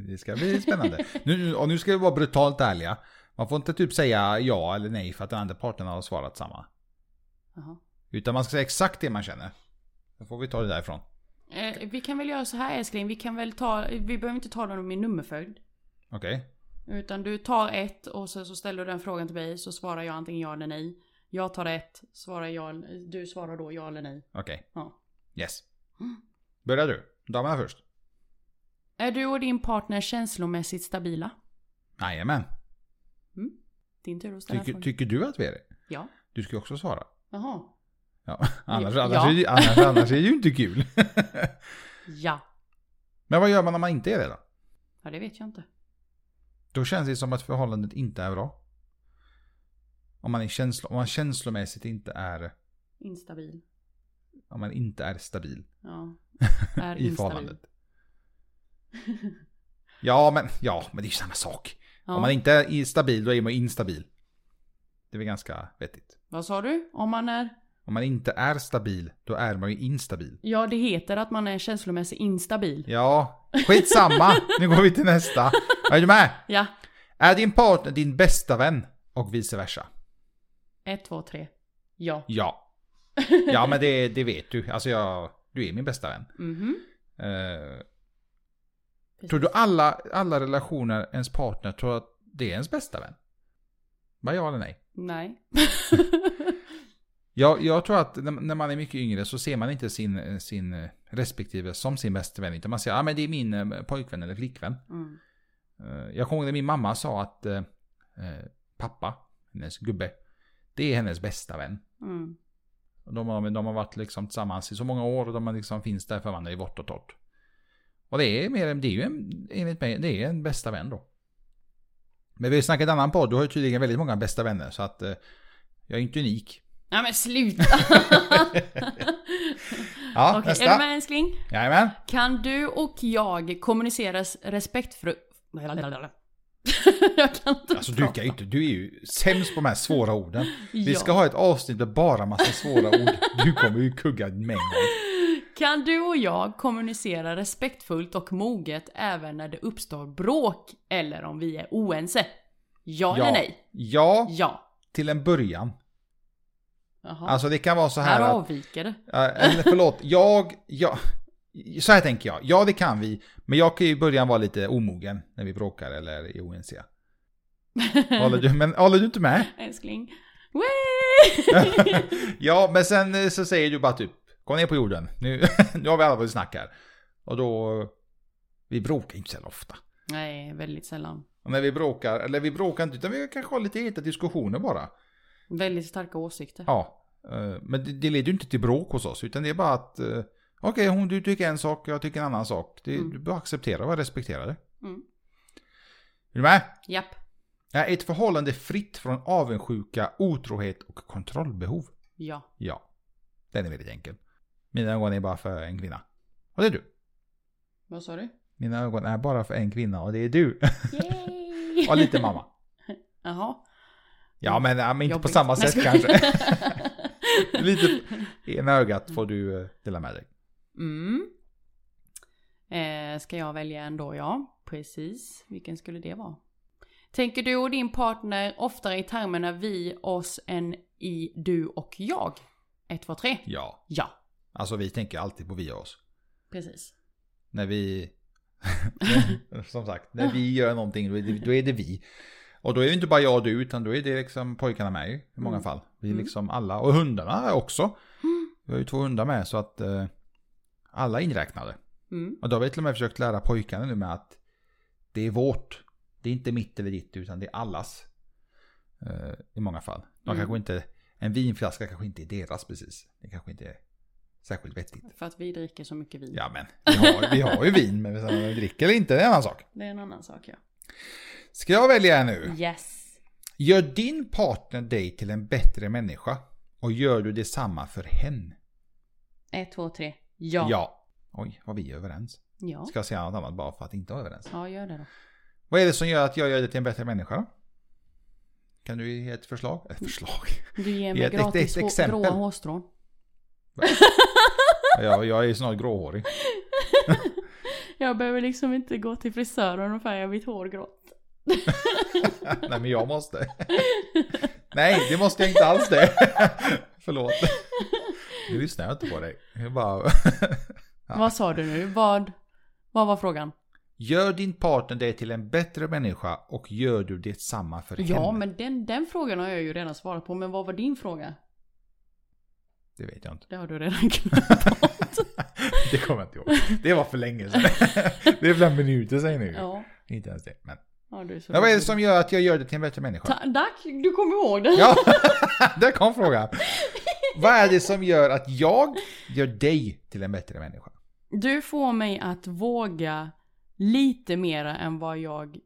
S1: det ska bli spännande. Nu, och nu ska vi vara brutalt ärliga. Man får inte typ säga ja eller nej för att den andra parten har svarat samma.
S2: Jaha.
S1: Utan man ska säga exakt det man känner. Då får vi ta det därifrån.
S2: Eh, vi kan väl göra så här älskling. Vi kan väl ta, vi behöver inte ta dem i nummerföljd.
S1: Okej?
S2: Utan du tar ett och sen så ställer du den frågan till mig så svarar jag antingen ja eller nej. Jag tar ett, svarar ja, du svarar då ja eller nej.
S1: Okej.
S2: Ja.
S1: Yes.
S2: Mm.
S1: Börjar du. Damerna först.
S2: Är du och din partner känslomässigt stabila? Mm.
S1: Jajamän.
S2: Din tur att ställa
S1: Tycker,
S2: frågan.
S1: tycker du att vi är det?
S2: ja.
S1: Du ska ju också svara.
S2: Jaha.
S1: Ja, annars,
S2: Ja.
S1: annars, är, det- annars, annars är det ju inte kul.
S2: Ja.
S1: Men vad gör man om man inte är det då?
S2: Ja, det vet jag inte.
S1: Då känns det som att förhållandet inte är bra. Om man, är känslo, om man känslomässigt inte är,
S2: Instabil.
S1: om man inte är stabil
S2: Ja. Är
S1: i
S2: instabil.
S1: förhållandet. Ja men, ja, men det är ju samma sak.
S2: Ja.
S1: Om man inte är i- stabil då är man instabil. Det är väl ganska vettigt.
S2: Vad sa du? Om man är...
S1: Om man inte är stabil då är man ju instabil.
S2: Ja, det heter att man är känslomässigt instabil.
S1: Ja, skitsamma. nu går vi till nästa. Är du med?
S2: Ja.
S1: Är din partner din bästa vän? Och vice versa.
S2: Ett, två, tre. Ja.
S1: Ja. Ja men det, det vet du. Alltså jag, du är min bästa vän.
S2: Mhm.
S1: Eh,
S2: Precis.
S1: tror du alla, alla relationer ens partner tror att det är ens bästa vän? Bara ja eller nej?
S2: Nej.
S1: Jag, jag tror att när, när man är mycket yngre så ser man inte sin, sin respektive som sin bästa vän. Utan man säger ah, men det är min eh, pojkvän eller flickvän.
S2: Mm.
S1: Eh, Jag kommer ihåg när min mamma sa att eh, eh, pappa, hennes gubbe, det är hennes bästa vän.
S2: Mm.
S1: Och De har, de har varit liksom tillsammans i så många år och de har liksom finns där för varandra i vått och torrt. Och det är mer än, det är ju en, enligt mig, det är en bästa vän då. Men vi har ju snackat i en annan podd, du har ju tydligen väldigt många bästa vänner så att eh, jag är inte unik.
S2: Nej men sluta!
S1: Ja,
S2: Okej, är
S1: nästa.
S2: du med älskling?
S1: Jajamän.
S2: Kan du och jag kommunicera respektfru... jag kan inte
S1: Alltså du kan ju inte, du är ju sämst på de här svåra orden. Vi
S2: Ja.
S1: ska ha ett avsnitt med bara massa svåra ord. Du kommer ju kugga en mängd.
S2: Kan du och jag kommunicera respektfullt och moget även när det uppstår bråk eller om vi är oense? Ja, eller nej?
S1: Ja,
S2: Ja.
S1: till en början.
S2: Jaha.
S1: Alltså det kan vara så här
S2: här
S1: att
S2: avviker det.
S1: Ja, Eller förlåt, jag, jag... Så här tänker jag. Ja, det kan vi. Men jag kan ju i början vara lite omogen när vi bråkar eller är oense. Håller du, men, håller du inte med?
S2: Älskling. Wee!
S1: ja, men sen eh, så säger du bara typ Kom ner på jorden. Nu, nu har vi allvarligt snack här. Och då... Vi bråkar ju inte så jävla ofta.
S2: nej, väldigt sällan.
S1: Och när vi bråkar, eller vi bråkar inte, utan vi kanske har lite heta diskussioner bara.
S2: Väldigt starka åsikter.
S1: Ja, eh, men det, det leder ju inte till bråk hos oss, utan det är bara att eh, okej, hon du tycker en sak, jag tycker en annan sak. Det,
S2: Mm.
S1: Du bara acceptera och respektera det.
S2: Mm.
S1: Är du med?
S2: Japp.
S1: Är ett förhållande fritt från avundsjuka, otrohet och kontrollbehov?
S2: Ja.
S1: Ja. Den är väldigt enkel. Mina ögon är bara för en kvinna. Och det är du.
S2: Vad sa du?
S1: Mina ögon är bara för en kvinna och det är du.
S2: Yay!
S1: och lite mamma.
S2: Jaha.
S1: Ja men, ja, men inte på
S2: Mm. Jobbigt.
S1: samma
S2: Nej,
S1: sätt
S2: jag skojar.
S1: kanske. Lite- Ena ögat får du eh, dela med dig.
S2: Mm. Eh, ska jag välja en då, ja. Precis. Vilken skulle det vara? Tänker du och din partner oftare i termerna vi, oss än i du och jag? Ett, två, tre.
S1: Ja.
S2: Ja,
S1: Alltså vi tänker alltid på vi och oss.
S2: precis.
S1: När vi... som sagt, när vi gör någonting då är, det, då är det vi. Och då är det inte bara jag och du utan då är det liksom pojkarna med ju, i många
S2: Mm.
S1: fall. Vi är
S2: Mm.
S1: liksom alla, och hundarna också. Vi har ju två hundar med så att eh, alla är inräknade.
S2: Mm.
S1: Och då har vi till och med försökt lära pojkarna nu med att det är vårt. Det är inte mitt eller ditt utan det är allas. Eh, I många fall. De
S2: Mm.
S1: kanske inte, en vinflaska kanske inte är deras precis. Det kanske inte är särskilt vettigt.
S2: För att vi dricker så mycket vin.
S1: Ja men, vi har, vi har ju vin men om vi dricker eller inte det är en annan sak.
S2: Det är en annan sak ja.
S1: Ska jag välja här nu?
S2: Yes.
S1: Gör din partner dig till en bättre människa och gör du detsamma för hen?
S2: Ett, två, tre. Ja.
S1: Oj, vad vi är överens.
S2: Ja,
S1: Ska jag säga något annat bara för att inte vara överens?
S2: ja gör det då.
S1: Vad är det som gör att jag gör dig till en bättre människa? Kan du ge ett förslag? Ett förslag?
S2: Du ger
S1: Ge
S2: mig
S1: ett- ett-
S2: gratis
S1: ett
S2: hå-
S1: exempel.
S2: gråa hårstrån.
S1: Jag, jag är ju snart gråhårig.
S2: Jag behöver liksom inte gå till frisören och färga mitt hår grått.
S1: Nej men jag måste. Nej, det måste jag inte alls det. Förlåt. Nu lyssnar jag inte på dig. Jag bara... Ja.
S2: Vad sa du nu? Vad, vad var frågan?
S1: Gör din partner dig till en bättre människa och gör du detsamma för henne?
S2: Ja, men den, den frågan har jag ju redan svarat på. Men vad var din fråga?
S1: Det vet jag inte.
S2: Det har du redan glömt bort.
S1: Det kommer jag inte ihåg. Det var för länge sedan. Det är flera minuter sedan nu.
S2: Ja.
S1: Inte ens det. Men.
S2: ja du är så
S1: Men vad är det
S2: rolig.
S1: som gör att jag gör dig till en bättre människa?
S2: Ta- Tack, du kom ihåg det.
S1: Ja, där kom frågan. Vad är det som gör att jag gör dig till en bättre människa?
S2: Du får mig att våga lite mera än vad jag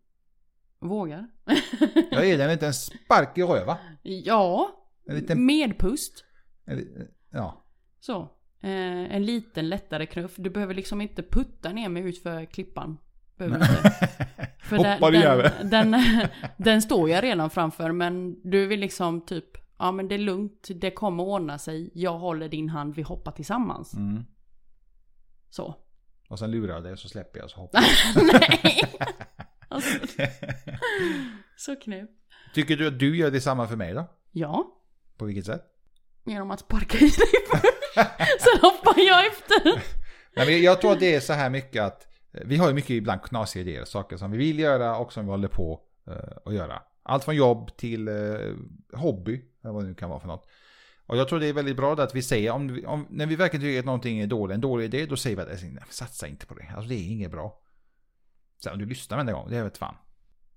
S2: vågar.
S1: Jag ger dig en liten spark i röva.
S2: ja,
S1: En liten...
S2: medpust.
S1: en- eh, Ja.
S2: Så. Eh, en liten lättare knuff. Du behöver liksom inte putta ner mig ut för klippan. Behöver du inte. För
S1: Hoppar du över?
S2: den, den, den står jag redan framför men du vill liksom typ Ja men det är lugnt, det kommer ordna sig. Jag håller din hand, vi hoppar tillsammans.
S1: Mm.
S2: Så.
S1: Och sen lurar jag dig och så släpper jag och så hoppar
S2: Nej! Alltså,
S1: jag.
S2: så knäpp.
S1: Tycker du att du gör detsamma för mig då?
S2: Ja,
S1: På vilket sätt?
S2: genom att sparka i dig först. Sen hoppar jag efter.
S1: Nej, men jag tror att det är så här mycket att eh, vi har ju mycket ibland knasiga idéer, saker som vi vill göra och som vi håller på eh, att göra. Allt från jobb till eh, hobby, eller vad det nu kan vara för något. Och jag tror det är väldigt bra det att vi säger, om, vi- om, när vi verkligen tycker att någonting är dåligt, en dålig idé, då säger vi att "Nej, nej, satsa inte på det, alltså det är inget bra. Sen om du lyssnar varenda gång, det vet fan.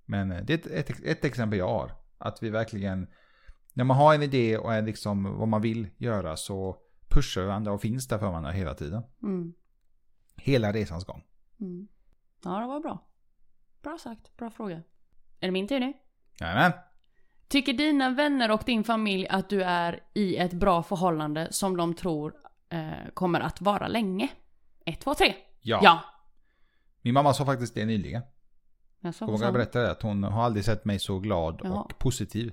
S1: Men eh, det är ett, ett, ett exempel jag har. Att vi verkligen, när man har en idé och är liksom vad man vill göra så pushar varandra och finns där för varandra hela tiden.
S2: Mm.
S1: Hela resans gång.
S2: Mm. Ja det var bra. Bra sagt, bra fråga. Är det min tur nu?
S1: Jajamän.
S2: Tycker dina vänner och din familj att du är i ett bra förhållande som de tror eh, kommer att vara länge? Ett, två, tre.
S1: Ja.
S2: Ja.
S1: Min mamma sa faktiskt det nyligen.
S2: Jag sa
S1: Jag vågar
S2: så.
S1: berätta det. Att hon har aldrig sett mig så glad
S2: Jaha.
S1: och positiv.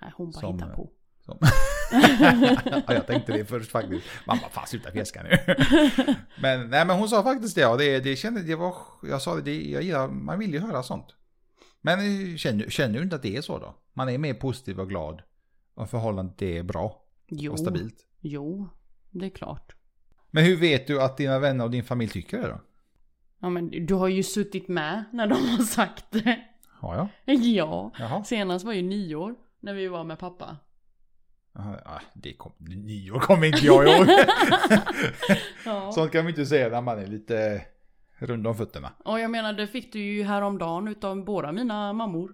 S2: Nej, hon bara
S1: Som-
S2: hittar på.
S1: Som... ja, jag tänkte det först faktiskt. Mamma, fan sluta fjäska nu. men, nej, men hon sa faktiskt det. Och det, det kände, det var, jag sa det, det, jag gillar, man vill ju höra sånt. Men eh, känner, känner du inte att det är så då? Man är mer positiv och glad. Och förhållandet är bra
S2: Jo.
S1: och stabilt.
S2: Jo, det är klart.
S1: Men hur vet du att dina vänner och din familj tycker det då?
S2: Ja men du har ju suttit med när de har sagt det.
S1: Har jag?
S2: Ja.
S1: Jaha.
S2: Senast var ju nyår när vi var med pappa.
S1: Jaha, ah, Det kom, nyår kommer inte jag ihåg.
S2: Ja.
S1: Sånt kan vi inte säga när man är lite rund om fötterna.
S2: Och jag menar det fick du ju häromdagen utav båda mina mammor.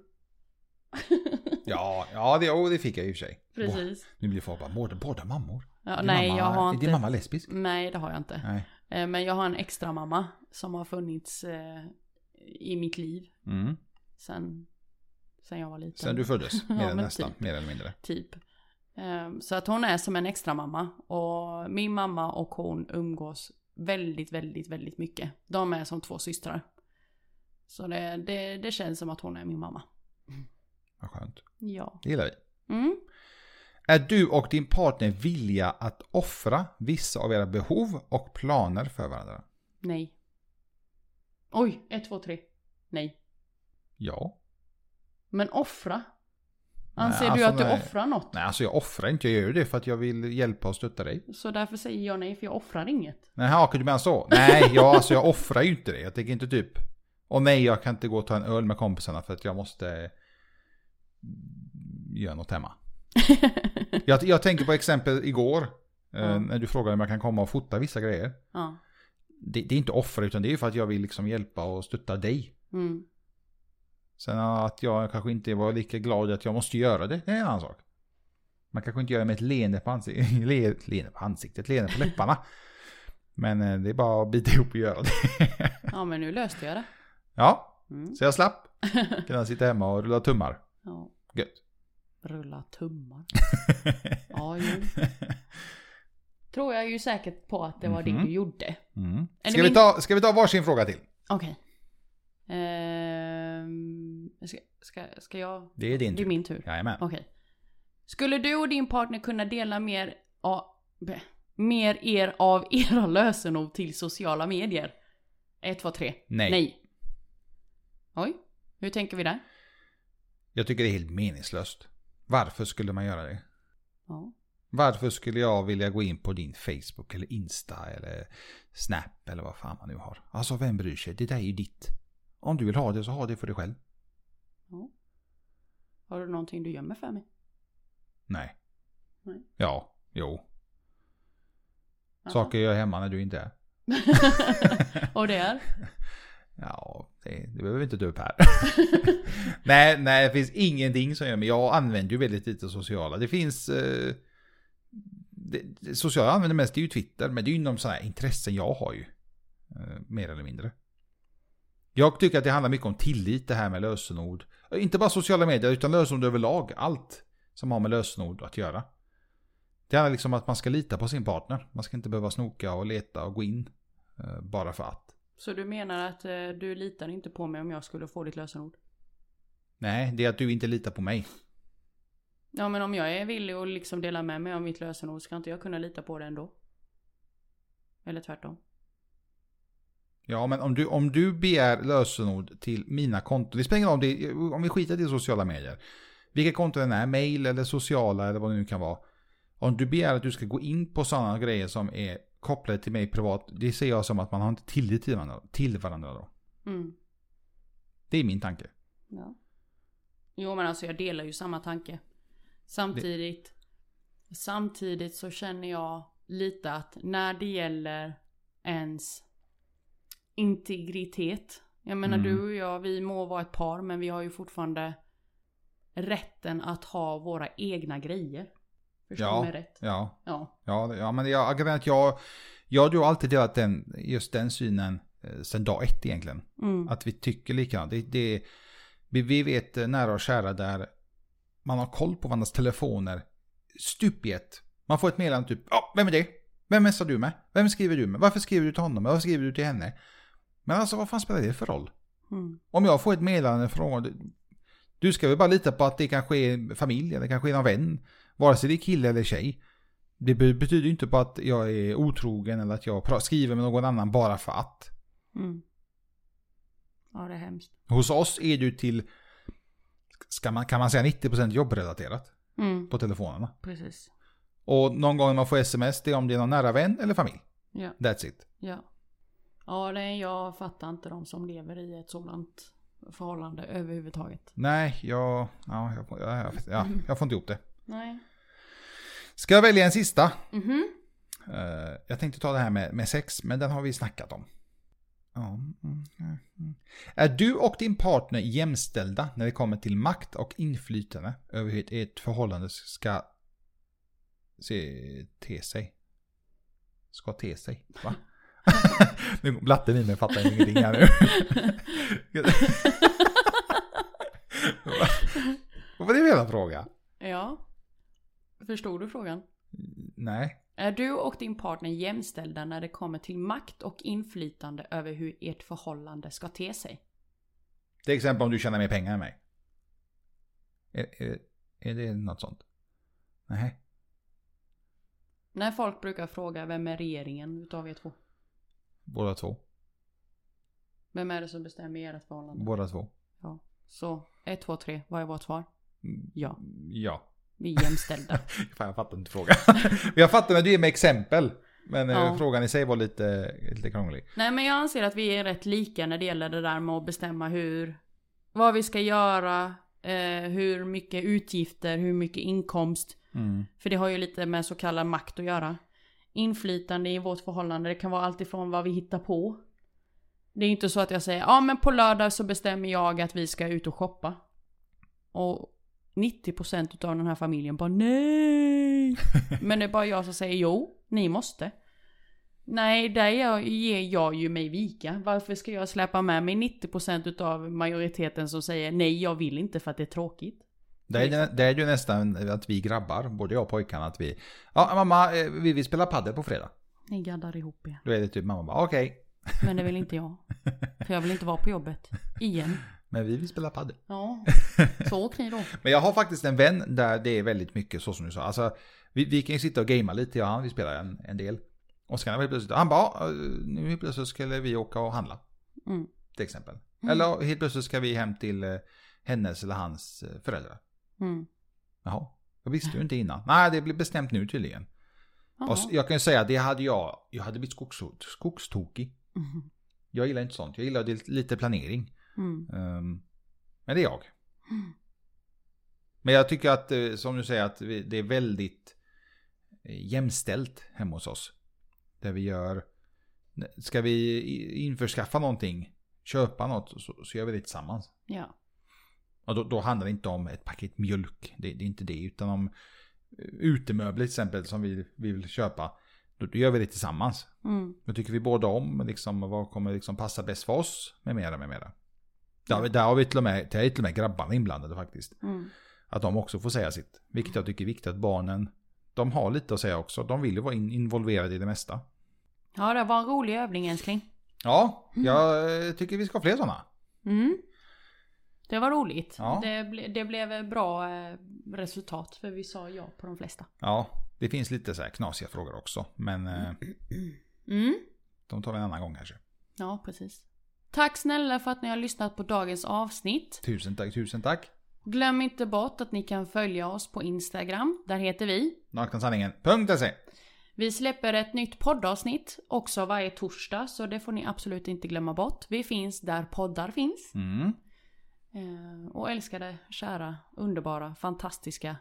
S1: Ja, ja det, oh, det fick jag i och för sig. Åh,
S2: Precis.
S1: nu blir folk bara, båda, båda mammor?
S2: Ja,
S1: Din
S2: nej
S1: mamma,
S2: jag har
S1: Är
S2: inte.
S1: din mamma lesbisk?
S2: Nej det har jag inte.
S1: Nej.
S2: Eh, Men jag har en extra mamma som har funnits eh, i mitt liv
S1: Mm.
S2: sen, sen jag var liten.
S1: Sen du föddes,
S2: Ja,
S1: mer än
S2: men
S1: nästan,
S2: typ.
S1: mer eller mindre.
S2: Typ. Eh, Så att hon är som en extra mamma och min mamma och hon umgås väldigt, väldigt, väldigt mycket. De är som två systrar. Så det, det, det känns som att hon är min mamma.
S1: Vad skönt.
S2: Ja.
S1: Det gillar vi.
S2: Mm.
S1: Är du och din partner villiga att offra vissa av era behov och planer för varandra?
S2: Nej. Oj, ett, två, tre. Nej.
S1: Ja.
S2: Men offra?
S1: Nej,
S2: Anser du
S1: alltså,
S2: att du
S1: nej.
S2: offrar något?
S1: Nej, alltså jag offrar inte. Jag gör ju det för att jag vill hjälpa och stötta dig.
S2: Så därför säger jag nej, för jag offrar inget.
S1: Nej, ja, du menar så? Nej, jag, alltså, jag offrar ju inte det. Jag tänker inte typ... Och nej, jag kan inte gå och ta en öl med kompisarna för att jag måste... eh, Göra något hemma. Jag, jag tänker på exempel igår. eh,
S2: Ja.
S1: När du frågade om jag kan komma och fota vissa grejer.
S2: ja.
S1: det, det är inte offra utan det är ju för att jag vill liksom hjälpa och stötta dig.
S2: Mm.
S1: Sen att jag kanske inte var lika glad att jag måste göra det, det är en annan sak. Man kanske inte gör det med ett leende på, ansik- le leende på ansiktet, leende på läpparna. Men eh, det är bara att bita ihop och göra det.
S2: Ja men nu löste jag det.
S1: Ja,
S2: Mm.
S1: så jag slapp. Kunna sitta hemma och rulla tummar.
S2: Ja.
S1: Gött.
S2: Rulla tummar. Ja jo. Tror jag ju säkert på att det var det
S1: Mhm.
S2: du gjorde.
S1: Mm.
S2: Är det
S1: Ska, vi
S2: min-
S1: ta, ska vi ta varsin fråga till?
S2: Okej. Ehm, ska, ska, ska jag?
S1: Det är din
S2: Det är
S1: tur.
S2: min tur.
S1: Jajamän.
S2: Okej. Skulle du och din partner kunna dela mer, a, b, mer er av era lösenord till sociala medier? 1, 2, 3.
S1: Nej.
S2: Nej. Oj, hur tänker vi där?
S1: Jag tycker det är helt meningslöst. Varför skulle man göra det?
S2: Ja.
S1: Varför skulle jag vilja gå in på din Facebook eller Insta eller Snap eller vad fan man nu har? Alltså vem bryr sig? Det där är ju ditt. Om du vill ha det så ha det för dig själv.
S2: ja. Har du någonting du gömmer för mig?
S1: Nej.
S2: Nej.
S1: Ja, jo.
S2: Jaha.
S1: Saker jag gör hemma när du inte är.
S2: Och det är?
S1: Ja, det, det behöver vi inte ta upp här. nej, nej, det finns ingenting som gör mig. Jag använder ju väldigt lite sociala. Det finns... Eh, det, det sociala jag använder mest det är ju Twitter, men det är ju de sådana här intressen jag har ju. Eh, mer eller mindre. Jag tycker att det handlar mycket om tillit det här med lösenord. Eh, Inte bara sociala medier utan lösenord överlag. Allt som har med lösenord att göra. Det handlar liksom om att man ska lita på sin partner. Man ska inte behöva snoka och leta och gå in. Eh, bara för att.
S2: Så du menar att eh, du litar inte på mig om jag skulle få ditt lösenord?
S1: Nej, det är att du inte litar på mig.
S2: Ja men om jag är villig att liksom dela med mig av mitt lösenord ska inte jag kunna lita på det ändå? Eller tvärtom?
S1: Ja, men om du, om du begär lösenord till mina konton, det spelar ingen roll om, det, om vi skiter i det i sociala medier. Vilka konton den är, mail eller sociala eller vad det nu kan vara. Om du begär att du ska gå in på sådana grejer som är kopplade till mig privat, det ser jag som att man har inte tillit till varandra, till varandra då.
S2: Mm.
S1: Det är min tanke.
S2: Ja. Jo men alltså jag delar ju samma tanke. Samtidigt, samtidigt så känner jag lite att när det gäller ens integritet. Jag menar
S1: Mm.
S2: du och jag, vi må vara ett par men vi har ju fortfarande rätten att ha våra egna grejer. Förstår
S1: Ja.
S2: mig rätt?
S1: Ja,
S2: Ja.
S1: Ja, det- ja men jag jag kan säga att jag, jag och du har alltid delat den, just den synen eh, sedan dag ett egentligen.
S2: Mm.
S1: Att vi tycker likadant. Det, det, vi, vi vet eh, nära och kära där man har koll på varandras telefoner stup i ett. Man får ett meddelande typ, ja, vem är det? Vem messar du med? Vem skriver du med? Varför skriver du till honom? Varför skriver du till henne? Men alltså vad fan spelar det för roll?
S2: Mm.
S1: Om jag får ett meddelande från... Du ska väl bara lita på att det kanske är familj eller kanske är någon vän. Vare sig det är kille eller tjej. Det be- betyder ju inte på att jag är otrogen eller att jag pra- skriver med någon annan bara för att.
S2: Mm. Ja det är hemskt.
S1: Hos oss är du till... Ska man, kan man säga 90% jobbrelaterat
S2: Mm.
S1: på telefonerna.
S2: Precis.
S1: Och någon gång man får sms det är om det är någon nära vän eller familj.
S2: Ja.
S1: That's it.
S2: Ja. Ja, nej, jag fattar inte de som lever i ett sådant förhållande överhuvudtaget.
S1: Nej, jag... Ja, jag, får- ja, jag, ja, jag får inte ihop det.
S2: Nej.
S1: Ska jag välja en sista?
S2: Mhm.
S1: Eh, jag tänkte ta det här med, med sex, men den har vi snackat om. Ja, mm, mm, mm. Är du och din partner jämställda när det kommer till makt och inflytande över hur ert förhållande ska se, te sig? Ska te sig, va? nu går blatten i mig, jag fattar ingenting här nu. Va? Vad var det för en fråga?
S2: ja. Förstod du frågan?
S1: Nej.
S2: Är du och din partner jämställda när det kommer till makt och inflytande över hur ert förhållande ska te sig?
S1: Till exempel om du tjänar mer pengar än mig. Är, är, är det något sånt? Nej.
S2: När folk brukar fråga vem är regeringen utav er två?
S1: Båda två.
S2: Vem är det som bestämmer ert förhållande?
S1: Båda två.
S2: Ja. Så, ett, två, tre. Vad är vårt svar?
S1: Mm.
S2: Ja,
S1: Ja.
S2: vi är jämställda.
S1: Fan, jag fattar inte frågan. jag fattar när du ger mig exempel. Men eh,
S2: Ja.
S1: frågan i sig var lite, lite krånglig.
S2: Nej men jag anser att vi är rätt lika när det gäller det där med att bestämma hur Vad vi ska göra eh, Hur mycket
S1: Mm.
S2: utgifter, hur mycket inkomst För det har ju lite med så kallad makt att göra inflytande i vårt förhållande. Det kan vara allt ifrån vad vi hittar på. Det är inte så att jag säger ja men på lördag så bestämmer jag att vi ska ut och shoppa. Och 90% av den här familjen bara nej. Men det är bara jag som säger jo, ni måste. Nej, där jag- ger jag ju mig vika. Varför ska jag släppa med mig 90% av majoriteten som säger nej, jag vill inte för att det är tråkigt?
S1: Det är, ju- det är ju nästan att vi grabbar, både jag och pojkarna, att vi... Ja, mamma, eh, vi vill spela padel på fredag.
S2: Ni gaddar ihop er.
S1: Då är det typ mamma bara, okej.
S2: Men det vill inte jag. För jag vill inte vara på jobbet. Igen.
S1: Men vi vill spela padel.
S2: Ja. Så åk ni då. Mm.
S1: Men jag har faktiskt en vän där det är väldigt mycket så som du sa. Alltså, vi, vi kan ju sitta och gamea lite, jag och han, vi spelar en, en del. Och sen helt plötsligt, han bara, "Ja, eh, nu helt plötsligt skulle vi åka och handla.
S2: Mm.
S1: Till exempel.
S2: Mm.
S1: Eller helt plötsligt ska vi hem till eh, hennes eller hans eh, föräldrar.
S2: Mm.
S1: Jaha, jag visste ju inte innan. Nej, det blev bestämt nu tydligen.
S2: Ja.
S1: Och s- jag kan ju säga, det hade jag, jag hade blivit skogsho- skogstokig.
S2: Mm.
S1: Jag gillar inte sånt, jag gillar det- lite planering.
S2: Mm.
S1: Ehm, men det är jag. Men jag tycker att, eh, som du säger, att vi, det är väldigt eh, jämställt hemma hos oss. Där vi gör, ska vi i- införskaffa någonting, köpa något, så, så gör vi det tillsammans.
S2: Ja.
S1: Och då, då handlar det inte om ett paket mjölk, det, det är inte det, utan om eh, utemöbler till exempel som vi, vi vill köpa. Då, då gör vi det tillsammans.
S2: Mm.
S1: Då tycker vi båda om liksom, vad kommer liksom passa bäst för oss med mera med mera. Där, har vi- där har vi till och, med, där är till och med grabbarna inblandade faktiskt.
S2: Mm.
S1: Att de också får säga sitt. Vilket jag tycker är viktigt att barnen, de har lite att säga också. De vill ju vara in, involverade i det mesta.
S2: Ja, det var en rolig övning älskling.
S1: Ja, jag eh, tycker vi ska ha fler sådana.
S2: Mm. Det var roligt.
S1: Ja.
S2: Det, ble, det blev bra eh, resultat för vi sa ja på de flesta.
S1: Ja, det finns lite så här knasiga frågor också. Men eh,
S2: Mm.
S1: de tar vi en annan gång kanske.
S2: Ja, precis. Tack snälla för att ni har lyssnat på dagens avsnitt.
S1: Tusen tack, tusen tack.
S2: Glöm inte bort att ni kan följa oss på Instagram. Där heter vi.
S1: Nakna sanningen. Punkt E. .se.
S2: Vi släpper ett nytt poddavsnitt också varje torsdag så det får ni absolut inte glömma bort. Vi finns där poddar finns.
S1: Mm.
S2: Eh, Och älskade, kära, underbara, fantastiska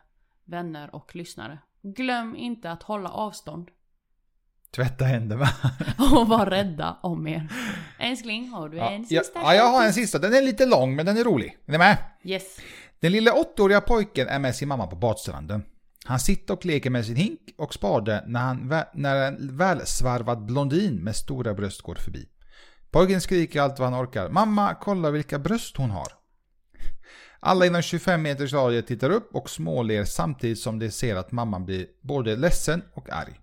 S2: vänner och lyssnare. Glöm inte att hålla avstånd
S1: Tvätta händerna.
S2: och var rädda om er. Älskling, har du en
S1: ja,
S2: sista?
S1: ja, jag har en sista. Den är lite lång men den är rolig. Är ni med?
S2: Yes.
S1: Den lilla åttaåriga pojken är med sin mamma på badstranden. Han sitter och leker med sin hink och spade när, han vä- när en välsvarvad blondin med stora bröst går förbi. Pojken skriker allt vad han orkar. Mamma, kolla vilka bröst hon har. Alla inom 25 meters radie tittar upp och småler samtidigt som de ser att mamman blir både ledsen och arg.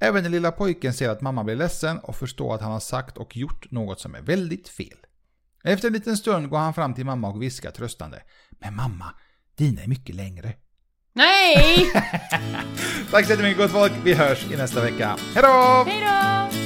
S1: Även den lilla pojken ser att mamma blir ledsen och förstår att han har sagt och gjort något som är väldigt fel. Efter en liten stund går han fram till mamma och viskar tröstande. Men mamma, dina är mycket längre.
S2: Nej!
S1: Tack så jättemycket gott folk, vi hörs i nästa vecka. Hej då!
S2: Hej då!